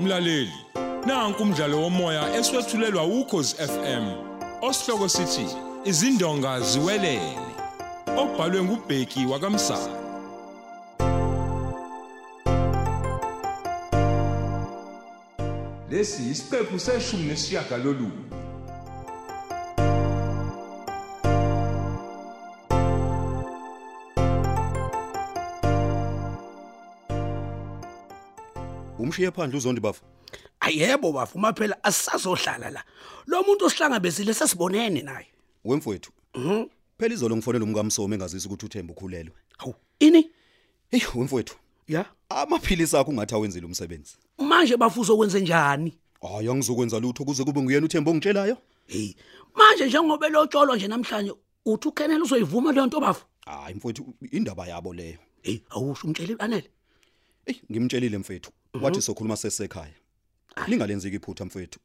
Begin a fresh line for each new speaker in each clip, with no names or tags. Mlaleli, nanku umdlalo womoya eswetshulelwa ukhozi FM. Osihloko sithi izindonga ziwelele. Obhalwe ngubheki wakamsa. Lesi isiqephu seshumi nesishiyagalolunye.
umshiye phandle uzondi bafa
ayebo bafuma phela asisazohlala la lo muntu osihlangabezile sesibonene naye
wemfowethu phela izolo ngifonela umkamsomi engazisi ukuthi uThemba ukhulelwe
hawu ini
hey wemfowethu
ya
amaphilisi akho ungathi awenzile umsebenzi
manje bafuzo kwenze njani
hayi angizokwenza lutho kuze kube nguyena uThemba ongitshelayo
hey manje njengoba elotsholwa nje namhlanje uthi uKenel uzoyivuma leyo nto bafu
hayi mfowethu indaba yabo leyo
hey awusho umtshele anele
hey ngimtshelile mfowethu wathi sokhuluma sesekhaya lingalenzeki iphutha mfowethu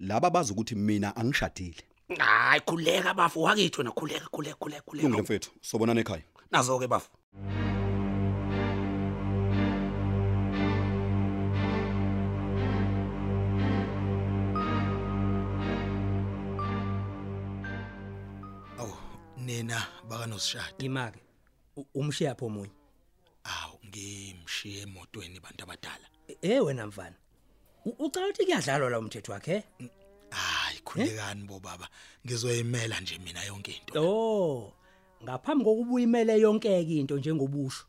laba bazi ukuthi mina angishadile
hayi khuleka bafu wakithi wena khuleka khuleka khuleka
lungile
khuleka
mfowethu sobonana ekhaya
nazo ke bafu
Awu nena bakanosishada.
imake umshiya pho omunye
Awu ngimshiye emotweni abantu abadala.
eh wena mfana u- ucala ukuthi kuyadlalwa la umthetho wakhe
Hayi khulekani bo baba. Ngizoyimela nje mina yonke into.
oh ngaphambi kokubuya imele yonke ke into njengobusho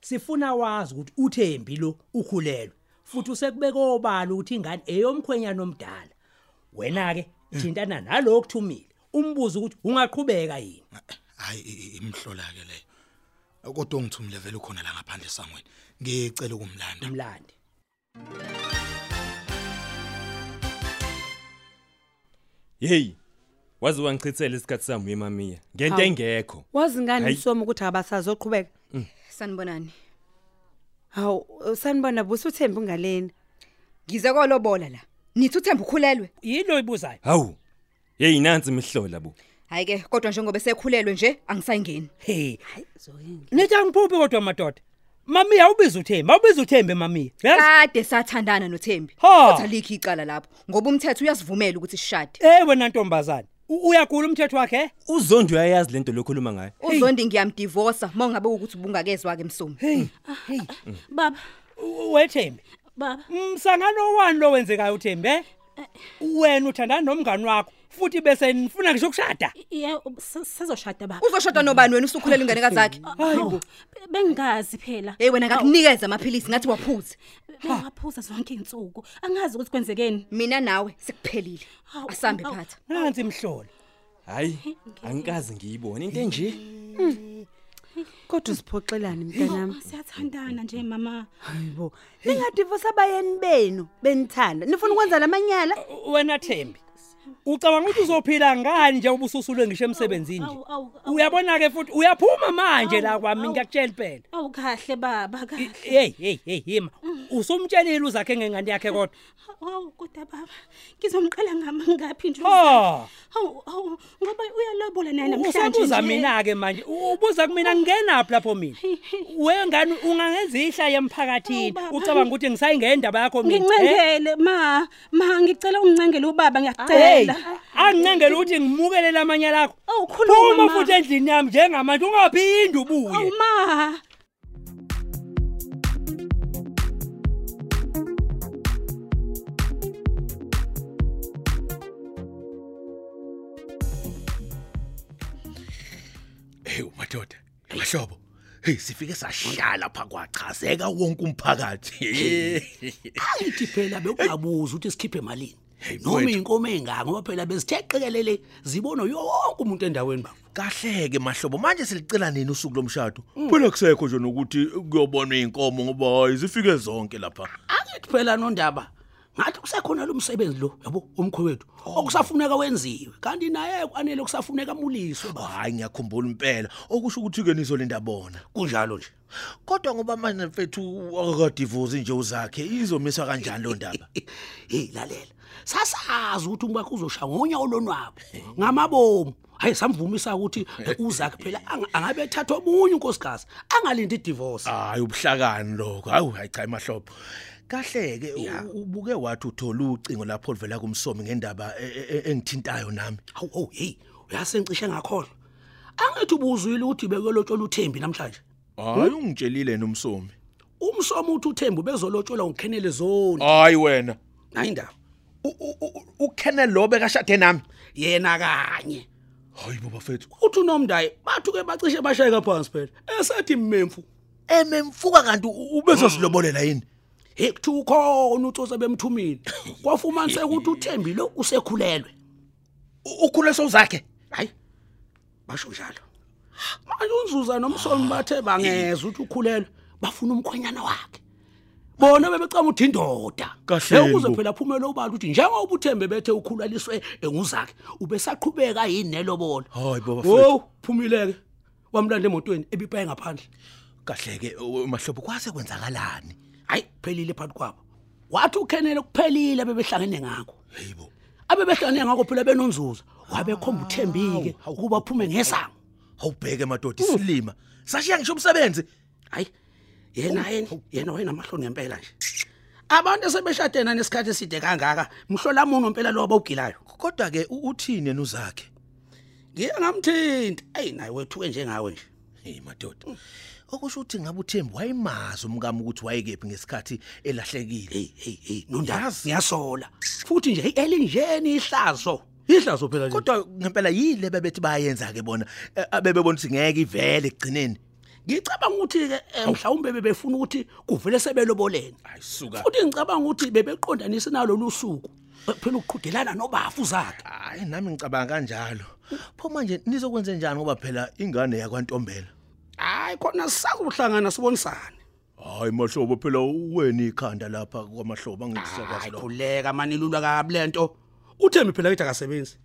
sifuna wazi ukuthi uThembi lo ukhulelwe futhi usekubeka obala ukuthi ingane eyomkhwenyana omdala wena ke thintana nalokho thumile umbuzo ukuthi ungaqhubeka yini
Hayi i- i- imhlola ke leyo. Kodwa ungithumile vele ukhona la ngaphandle sangweni. Ngicela ukumlanda.
umlandi
Hey. Wazi wangichithela isikhatsi sami emamiya. Ngento
Hawu.
engekho.
wazi ngani
Hayi.
msomo ukuthi abasazoqhubeka
sanibonani
hawu sanibona busa uthembi ungalena
ngize kolobola la nithi uthemba ukhulelwe
yilo ibuzayo
Hawu. Hey nansi imihlola bo.
hayi ke kodwa njengoba sekhulelwe nje angisayingeni
hey nithi angiphuphi kodwa madoda mami awubiza uThembi awubiza uThembi mami yazi
kade sathandana noThembi
Ha.
futhi alikho icala lapho ngoba umthetho uyasivumela ukuthi sishade
Eh wena ntombazane, u- uyagula umthetho wakhe?
Uzondo uyayazi lento lokhuluma ngayo.
uzondi ngiyamdivorsa mongabe ukuthi ubungakezwa ke msomi
Hey,
Baba,
u- wethembe.
baba,
Umsangano wani lo wenzekayo uThembe? eh? Wena uthandana nomngani wakho futhi bese nifuna ngisho ukushada.
yeah, sizoshada baba.
uzoshada nobani wena usukhulelwe inganekazi yakhe
Hayibo. Bengazi phela.
hey wena ngakunikeza amaphilisi ngathi waphuza
Bengaphuza zonke izinsuku. Angazi ukuthi kwenzekeni.
mina nawe sekuphelile
Hawu,
asambe
hawu.
phatha
Nansi imhlolo.
Hayi. Angikazi ngiyibona into enje.
kodwa usiphoxelani mntanami
Oh, Siyathandana nje mama.
hayibo ningadivosa abayeni benu benithanda nifuna ukwenza lamanyala
U- Wena Thembi. Ucabanga ukuthi uzophila ngani nje ubususulwe ngisho emsebenzini nje?
Awu, awu, awu.
Uyabona ke futhi uyaphuma manje la
Awu,
kwami
awu.
ngiyakutshela phela.
Awu kahle baba, kahle.
Hey, hey, hey, hima. Usumtshelile uzakhe ngengane yakhe kodwa.
Awu kodwa baba. Ngizomqala ngama ngapi nje?
Ha.
Awu, awu, ngoba uyalobola naye namhlanje.
Usabuza
nje.
mina ke manje ubuza kumina ngingenaphi lapho mina wengane ungangenza ihla
Awu,
emphakathini
Oh, baba.
ucabanga ukuthi ngisayingendaba yakho mina eh?
Ngincengele ma, ma ngicela ungincengele ubaba
Hey,
ngiyacela.
angincengele ukuthi ngimukele lamanye lakho
Awu khuluma.
phuma
ma.
futhi endlini yami njengamanje ungaphindi ubuye
Awu ma.
Hey madoda. Mahlobo. Hey sifike sahlala pha kwachazeka wonke umphakathi.
Ayithi phela bekungabuza ukuthi sikhiphe malini.
Hey,
Noma
mfowethu.
inkomo engaka ngoba phela bezithexekelele zibono yonke umuntu endaweni bafu.
Kahleke mahlobo manje silicela nini usuku lomshado? Phela kusekho nje nokuthi kuyobona inkomo ngoba hayi zifike zonke lapha.
Akithi phela nondaba. Ngathi kusekhona lo msebenzi lo yabo omkhwewethu
Oh.
okusafuneka wenziwe kanti naye kwanele kusafuneka amuliswe ba.
Hayi ngiyakhumbula impela okusho ukuthi ke nizolinda bona.
kunjalo nje.
Kodwa ngoba manje mfethu akadivorce nje uzakhe izomiswa kanjani lo ndaba?
Hey lalela. Sasazi ukuthi umbakho uzoshaya ngonya olonwabo. Ngamabomu. Hayi samvumisa ukuthi uzakhe phela anga- angabe ethathwa omunye unkosikazi angalindi idivorce.
Hayi ubuhlakani lokho. Hawu hayi cha mahlobo. kahle ke
Yeah.
ubuke wathi uthola ucingo lapho livela kumsomi ngendaba e- e- e- engithintayo nami
Awu oh hey, uyasencishe ngakholwa. Angithi ubuzwile ukuthi bekolotshola uThembi namhlanje.
hayi ungitshelile nomsomi
Umsomo uthi uThembi bezolotsholwa uKhenele Zoni.
hayi wena
Hayi indaba.
uKenneth Lobe kashade nami
Yena kanye.
hayi baba fethu
Uthi uNomdayi bathuke bacishe bashayeka phansi phela. Esathi mmemfu.
ememfuka kanti u- ubezosilobolela yini
Hey kuthiwa ukhona utsotsa bemthumile. Kwafumaniseka ukuthi uThembi lo usekhulelwe.
U- ukhule sozakhe
Hayi. Basho njalo. Manje unzuza
Ah,
nomsomi bathe
eh.
bangezwe ukuthi ukhulelwe, bafuna umkhonyana wakhe. Bona bebecama uthi indoda.
Kahle yini
ukuze
bo?
phela phumele ubala ukuthi njengoba uThembe bethe ukhulaliswe enguzakhe, ubesaqhubeka yini nelobolo.
Hayi, baba Fred.
Wo, phumileke. Wamlanda emotweni ebipaye ngaphandle.
kahle ke mahlobo kwase kwenzakalani
Hayi, kuphelile phakathi kwabo. Wathi uKhenele kuphelile bebehlangene ngakho.
hayibo
Abebehlangene ngakho phela benonzuza. Wabekhomba uThembike ukuba aphume ngesango.
awubheke madodoti silima sashiya ngisho umsebenzi
hayi yena yena yena wayenamahloni ngempela nje abantu sebeshadena nesikhathi eside kangaka mhlolamuno impela lo abawugilayo
kodwa ke u- uthini yena uzakhe
ngiye ngamthinta eyi naye wethuke njengawe nje Mm,
hey madoda okusho ukuthi ngabe uThembi wayimazi umkami ukuthi wayekephi ngesikhathi elahlekile
heyi heyi heyi nonda
Yazi.
ngiyasola futhi nje heyi elinjeni ihlazo ihlazo phela nje
kodwa ngempela yile bebethi bayenza ke bona eh, abebebona ukuthi ngeke ivele egcineni
ngicabanga ukuthi-ke eh, mhlawumbe bebefuna ukuthi kuvele sebelobolene
ayisuka
futhi ngicabanga ukuthi bebeqondanise nalolu suku Eh, phela ukuqhudelana nobafu zakhe
hayi nami ngicabanga kanjalo pho manje nizokwenze njani ngoba phela ingane yakwantombela
hhayi khona sisazohlangana sibonisane
hayi mahlobo phela uweni ikhanda lapha kwamahlobo
Hayi khuleka manilulwa kabi lento. Uthembi phela kithi akasebenzi.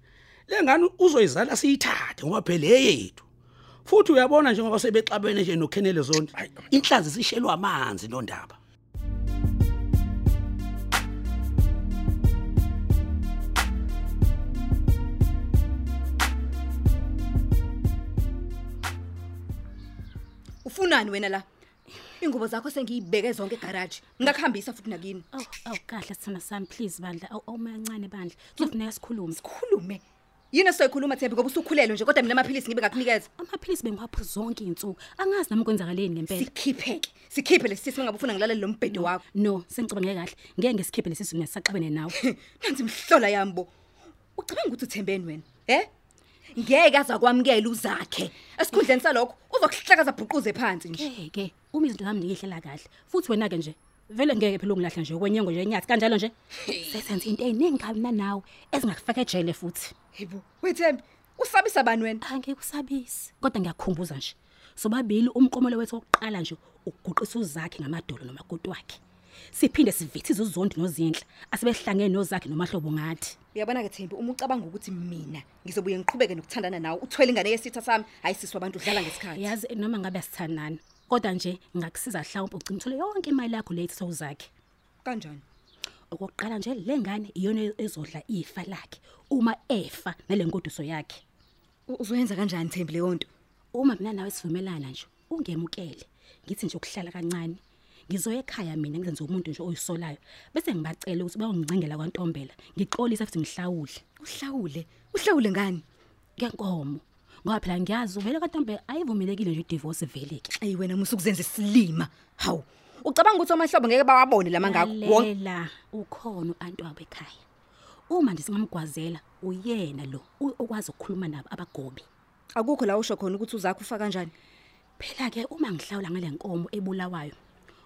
Le ngane uzoyizala siyithathe ngoba phela eyethu. Futhi uyabona njengoba sebexabene nje noKhenele zonke. Inhlanzi sishelwa amanzi nondaba.
ufunani wena la ingubo zakho sengiyibeke zonke egaraji ngakuhambisa futhi nakini
Aw aw kahle sithanda sami please bandla aw awumancane bandla. Kuzofuneka sikhulume.
khulume yini esoyikhuluma thembi ngoba usukhulelwe nje kodwa mina amaphilisi ngibe ngakunikeza
Amaphilisi bengiwaphuza zonke izinsuku. Angazi nami kwenzakaleni ngempela.
sikhipheke sikhiphe lesisi mangabe ufuna ngilalele lo mbhedo wakho
No, sengicabanga kahle. Ngeke ngesikhiphe lesisu mina sisaqabene nawe.
nansi mhlola yambo ucabanga ukuthi uthembeni wena he ngeke azakwamukela uzakhe esikhundleni salokho uzokuhlakaza bhuquze phansi nje
Ngeke uma izinto zami ngiyihlela kahle. Futhi wena ke nje vele ngeke phela ungilahle nje okwenyengo nje enyathi kanjalo nje. Sesenze into eziningi kabi mina nawe ezingakufaka ejele futhi.
hebo wethembi usabisa bani wena
Angikusabisi. Kodwa ngiyakukhumbuza nje. Sobabili umqomolo wethu oqala nje ukuguqisa uzakhe ngamadolo nomakoti wakhe. Siphinde sivithize uzondi nozinhla asibehlangene nozakhe nomahlobo ngathi.
uyabona ke thembi uma ucabanga ukuthi mina ngizobuye ngiqhubeke nokuthandana nawe uthwele ingane yesitha sami hayi sisi wabantu udlala ngesikhathi
Yazi noma ngabe sithandana. Kodwa nje ngakusiza mhlawumbe ugcimthole yonke imali yakho lethi uzakhe.
kanjani
Okokuqala nje le ngane iyona ezodla ifa lakhe uma efa nalenkoduso yakhe.
U- uzoyenza kanjani thembi leyo nto
Uma mina nawe sivumelana nje ungemukele. Ngithi nje ukuhlala kancane. Ngizoya ekhaya mina ngizenze umuntu nje oyisolayo bese ngibacela ukuthi bayongicengela kwantombela. Ngixolisa futhi ngihlawule
uhlawule uhlawule ngani
ngenkomo. Ngoba phela ngiyazi uvele kwantombela ayivumelekile nje idivorce vele ke.
eyi wena musa ukuzenza isilima hawu ucabanga ukuthi omahlobo ngeke bawabone lama ngakho Wonke-
Lalela ukhona uAntwabo ekhaya. Uma nje singamgwazela uyena lo u- okwazi ukukhuluma nabo abagobi.
akukho la usho khona ukuthi uzakho ufa kanjani
Phela ke uma ngihlawula ngale nkomo ebulawayo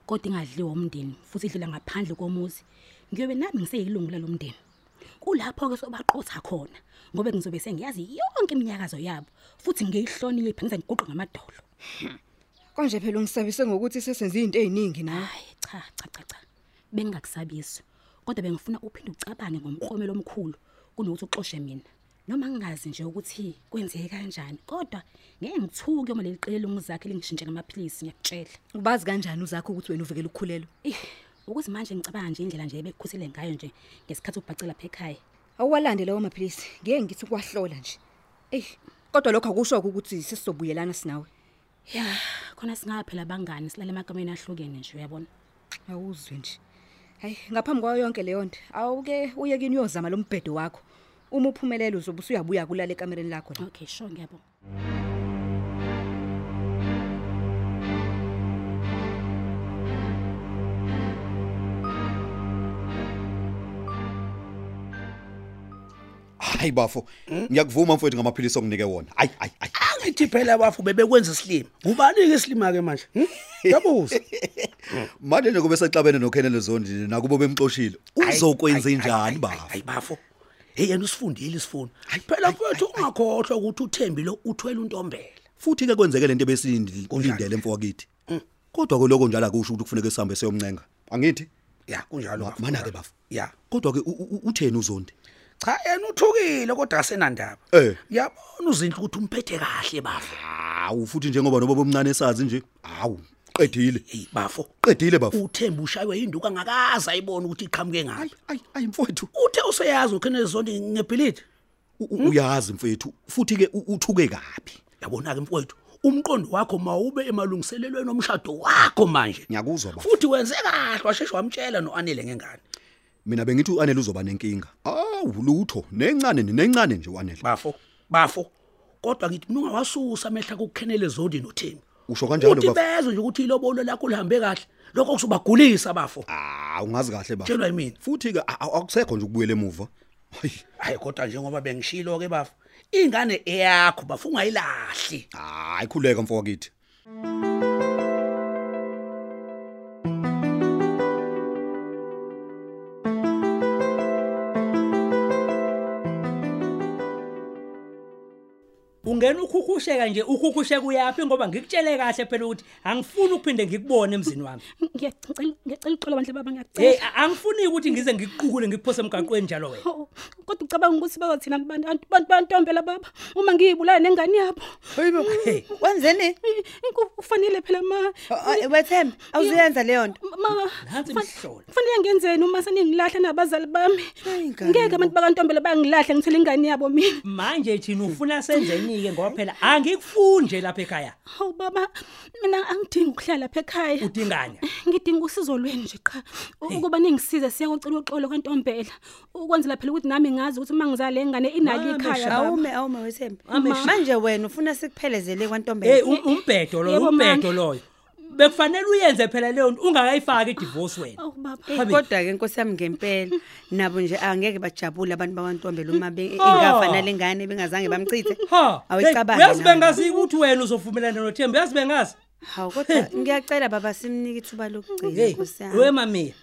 kodwa ingadliwa umndeni futhi idlula ngaphandle komuzi ngiyobe nami ngiseyilungula lomndeni. Kulapho ke sobaqotha khona ngoba ngizobe sengiyazi yonke iminyakazo yabo futhi ngiyihloniphe ngize ngiguqe ngamadolo.
konje phela ungisabise ngokuthi sesenze izinto eziningi nawe
Hayi cha cha cha cha. Bengakusabisi. Kodwa bengifuna uphinde ucabange ngomqomelo omkhulu kunokuthi uxoxe mina. Noma ngingazi nje ukuthi kwenzeke kanjani kodwa ngeke ngithuke uma leli qile lungizakhe lingishintshela amaphilisi ngiyakutshela.
ubazi kanjani uzakho ukuthi wena uvikela ukukhulelwa
Eh, ukuthi manje ngicabanga nje indlela nje ebekhusele ngayo nje ngesikhathi ubhacela phe ekhaya.
awuwalande lawo maphilisi ngeke ngithi ukwahlola nje eyi kodwa lokho akusho-ko ukuthi sesizobuyelana sinawe
Ya, khona singaphela bangani silale emagameni ahlukene nje uyabona.
awuzwe nje hayi ngaphambi kwayo yonke leyo nto awuke uye kini uyozama lo mbhedo wakho uma uphumelele uzobe usuyabuya kulala ekamereni lakho la.
okay sure ngiyabonga
hayi bafo ngiyakuvuma mfowethu ngamaphilisi onginike wona hayi hayi hayi
angithi phela bafu bebekwenza isilima ngubani-ke isilima-ke manje hmm? yabuza
manje nje kube sexabene noKenneth Zondi nakubo bemxoshilo uzokwenza njani bafo
hayi bafo hey yena usifundile isifuna phela mfowethu ungakhohlwa ukuthi uthembi lo uthwele untombela
futhi ke kwenzeke lento besindile ulindele mfowakithi
Mm.
kodwa koloko njalo akusho ukuthi kufuneka sihambe seyomncenga angithi
ya kunjalo bafo,
mana ke
kunjalo.
bafo
ya
kodwa ke u- u- utheni uZondi
cha yena uthukile kodwa asenandaba
Eh.
yabona uzinhle ukuthi umphethe kahle bafo
hawu futhi njengoba noba bomncane esazi nje hawu qedile
hey bafo
qedile bafo
uthembi ushaywe yinduku angakaze ayibone ukuthi iqhamuke ngayo
ayi ayi mfowethu
uthe useyazi uKenneth Zondi ngebhilidi
u- u- uyazi mfowethu futhi ke u- uthuke kabi
yabonake mfowethu umqondo wakho mawube emalungiselelweni omshado wakho manje
ngiyakuzwa bafo
futhi wenze kahle washeshe wamtshela noanele ngengane
mina bengithi uanele uzoba nenkinga awu lutho nencane ni- nencane nje uanele
bafo bafo kodwa ngithi mina ungawasusa amehla kukhenele zondi nothembi
usho kanjalo
uthi
bafo
bezwe nje ukuthi ilobolo lakho lihambe kahle lokho kusobagulisa bafo
ah ungazi kahle bafo
tshelwa yimina
futhi ke a- a- akusekho nje ukubuyela emuva hayi
hayi kodwa njengoba bengishilo ke bafo ingane eyakho bafo ungayilahli
hayi khuleka mfowakithi
Ungena ukhukhusheka nje ukhukhusheka uyapi ngoba ngikutshele kahle phela ukuthi angifuni ukuphinde ngikubone emzini wami.
ngiyacela ngiyacela uxolo bandle baba
Hey
ngiyacela
a- angifuni ukuthi ngize ngikuqukule ngikuphose emgaqweni njalo wena.
Oh, kodwa ucabanga ukuthi bayothina kubantu abantu bantombela baba uma ngiyibulala nengane yabo
Hey Oh,
wenzeni
Eh, inkofu kufanele phela ma
wethembe awuzuyenza leyo nto
mama
Ah, eh, nansi imihlola.
kufanele ngenzeni uma seningilahla nabazali bami
Hayi, ngane.
ngeke abantu bakantombela bayangilahla ngithole ingane yabo mina
Manje thina ufuna senzenike ngoba phela angikufuni nje lapha ekhaya.
hawu baba mina angidingi ukuhlala lapha ekhaya
Udingani?
ngidinga usizo lweni nje qha ukuba ningisize siyakocela uxolo kwantombela ukwenzela phela ukuthi nami ngazi ukuthi uma ngizale ingane inali
Mama,
ikhaya baba
awume awume wethembe
Ame sha.
manje wena ufuna sikuphelezele
Hey
kwantombela
um- umbhedo lo
Yebo, mama.
umbhedo loyo. Bekufanele uyenze phela leyo nto ungakayifaki idivorce wena.
awu baba
Hey,
Habi.
kodwa-ke nkosi yami ngempela nabo nje angeke bajabule abantu bakwantombela uma be-
Ah.
ingafana lengane bengazange bamchithe
Ha.
Awuyicabangi
hey, Uyazi
nawe.
bengazi ukuthi wena uzovumelana noThembi uyazi bengazi.
hawu kodwa ngiyacela baba simnike ithuba lokucika
Hey,
nkosi
we
yami
mamiya.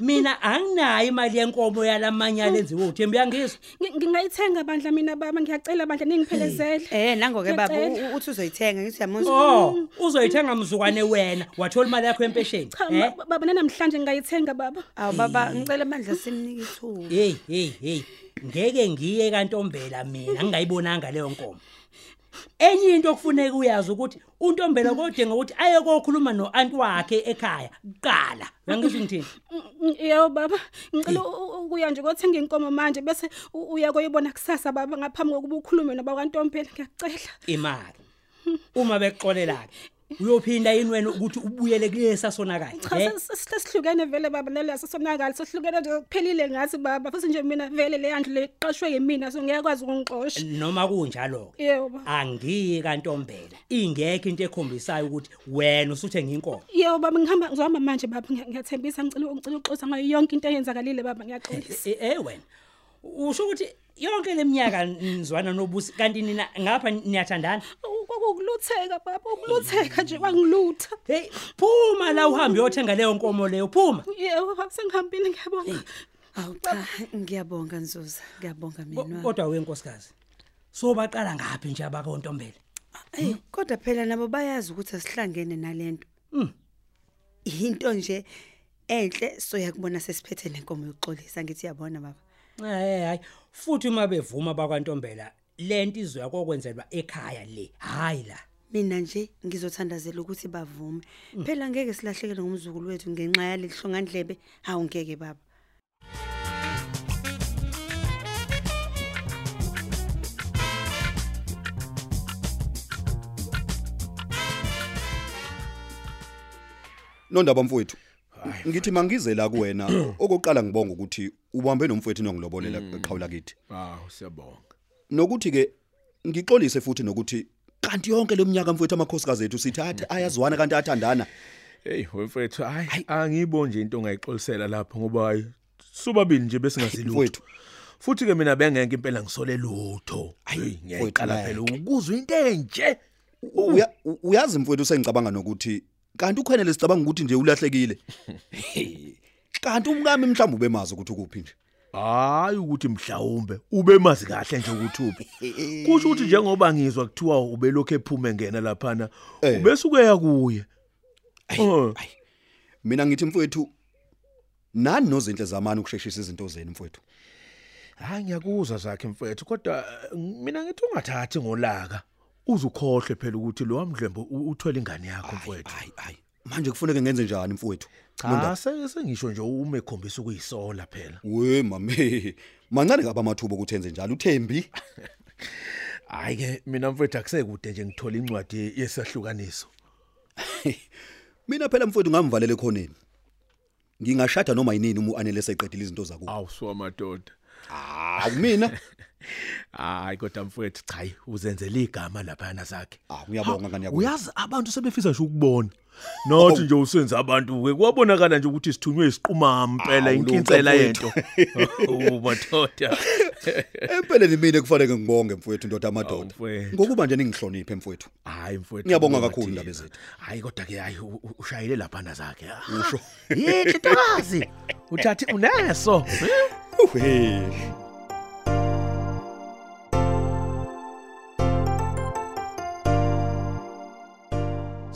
Mina anginayo imali yenkomo yalamanyala enziwe uThembi yangizwa.
Ngi- ngingayithenga bandla mina baba ngiyacela bandla ningiphelezele
Eh nango-ke baba u-
Ngiyacela.
u- uthi uzoyithenga ngithi uyamonza
Oh, uzoyithenga mzukwane wena, wathola imali yakho yempesheni.
cha
Eh?
ma- baba nanamhlanje ngingayithenga baba
awu baba ngicela amandla simnike ithuba
Hey, hey, hey. Ngeke ngiye kantombela mina, ngingayibonanga leyo nkomo. Enye into okufuneka uyazi ukuthi untombela kodinga ukuthi aye kokhuluma noanti wakhe ekhaya kuqala. Uyangizwa ngithini?
Mm, yebo baba ngicela u- u- ukuya nje kothenga inkomo manje bese u- uya koyibona kusasa baba ngaphambi kokuba ukhulume nobakwantompela ngiyacela
Imali. Uma bekuxolela ke, uyophinda yini wena ukuthi ubuyele kulesa sonakala?
cha
eh?
se- se- sihle sihlukene vele baba nalesa sonakala sihlukene nje kuphelile ngathi baba futhi nje mina vele leyandlu leqashwe yimina so ngiyakwazi ukungixosha
Noma kunjalo ke.
yebo baba
Angiyi kantombela. Ingekho into ekhombisayo ukuthi wena usuthenga inkomo.
yebo baba ngihamba ngizohamba manje baba ngiya- ngiyathembisa ngicela ngicela uxoxa ngayo yonke into eyenzakalile baba ngiyaxolisa
Eh, eh wena usho ukuthi yonke leminyaka nizwana nobusi kanti nina ngapha niyathandana
U- kwakukulutheka baba ukulutheka nje wangilutha
hey phuma la uhambe uyothenga leyo nkomo leyo phuma
yebo baba sengihambile ngiyabonga
awu cha ngiyabonga nzuza ngiyabonga
Ko-
mina
kodwa wenkosikazi so baqala ngaphi nje abakontombela
Ey, Eh, kodwa phela nabo bayazi ukuthi asihlangene nalento. Mhm. Into nje enhle soyakubona sesiphethe nenkomo yokuxolisa ngithi uyabona baba.
hayi hayi futhi uma bevuma bakwantombela lento izoya kokwenzelwa ekhaya le hayi la
Mina nje ngizothandazela ukuthi bavume. Phela ngeke silahlekele ngomzukulu wethu ngenxa yalihlongandlebe, hawu ngeke baba.
nondaba mfowethu Ngithi mangize la kuwena okoqala ngibonga ukuthi ubambe nomfowethu nongilobolela eqhawula kithi.
Hawu siyabonga.
Nokuthi ke ngixolise futhi nokuthi kanti yonke leminyaka mfowethu amakhosikazi ethu sithathe ayazwana kanti athandana.
Hey wemfethu hayi angibo nje into ongayixolisela lapho ngoba hayi sobabili nje besingasilutho.
Mfowethu.
Futhi ke mina bengeke impela ngisole lutho. Hey ngiyaqala phela ukuzwa into enje.
Uya- u- Uyazi mfowethu sengicabanga nokuthi kanti ukhwenele sicabanga ukuthi nje ulahlekile. Kanti umkami mhlawumbe ubemazi ukuthi ukuphi nje.
Hayi ukuthi mhlawumbe ube mazi kahle nje ukuthi uphi. Kusho ukuthi njengoba ngizwa kuthiwa ube lokho ephume ngena laphana
Eh.
ubese kuya kuye. Oh.
Mina ngithi mfowethu nani nozinhle zamani ukusheshisa izinto zenu mfowethu.
Hayi ngiyakuzwa zakhe mfethu kodwa eh, mina ngithi ungathathi ngolaka. Uzukhohle phela ukuthi lo wamdlembo u- uthola ingane yakho mfethu.
Hayi hayi manje kufuneka ngenze njani mfowethu?
Cha se- sengisho nje uma ekhombisa ukuyisola phela.
We mami. Mancane ngaba amathuba ukuthi enze njalo uThembi.
Hayi ke mina mfethu akusekude nje ngithola incwadi yesahlukaniso.
Mina phela mfowethu ngamvalele khoneni. Ngingashada noma yinini uma uanele seqedile izinto zakubo.
Awu so madoda.
Akumina.
Hayi kodwa mfethu cha hayi, uzenzela igama laphana zakhe.
Ah ngiyabonga ngani yakho.
Uyazi abantu sebefisa nje ukubona. Nothi nje usenza abantu ke kwabonakala nje ukuthi sithunywe isiquma impela
Awu, Luka
inkinsela yento.
mfowethu.
Ubododa.
Empeleni mina kufanele ngimonge mfowethu ndoda amadoda.
mfowethu.
Ngokuba nje ningihloniphe mfowethu.
Hayi mfowethu.
Ngiyabonga
ngoba
kakhulu
thina-
ndaba zethu.
Hayi kodwa ke hayi u- u- ushayile laphana zakhe. Ah, Usho. Yithi tokazi. Uthathi unaso.
Hey.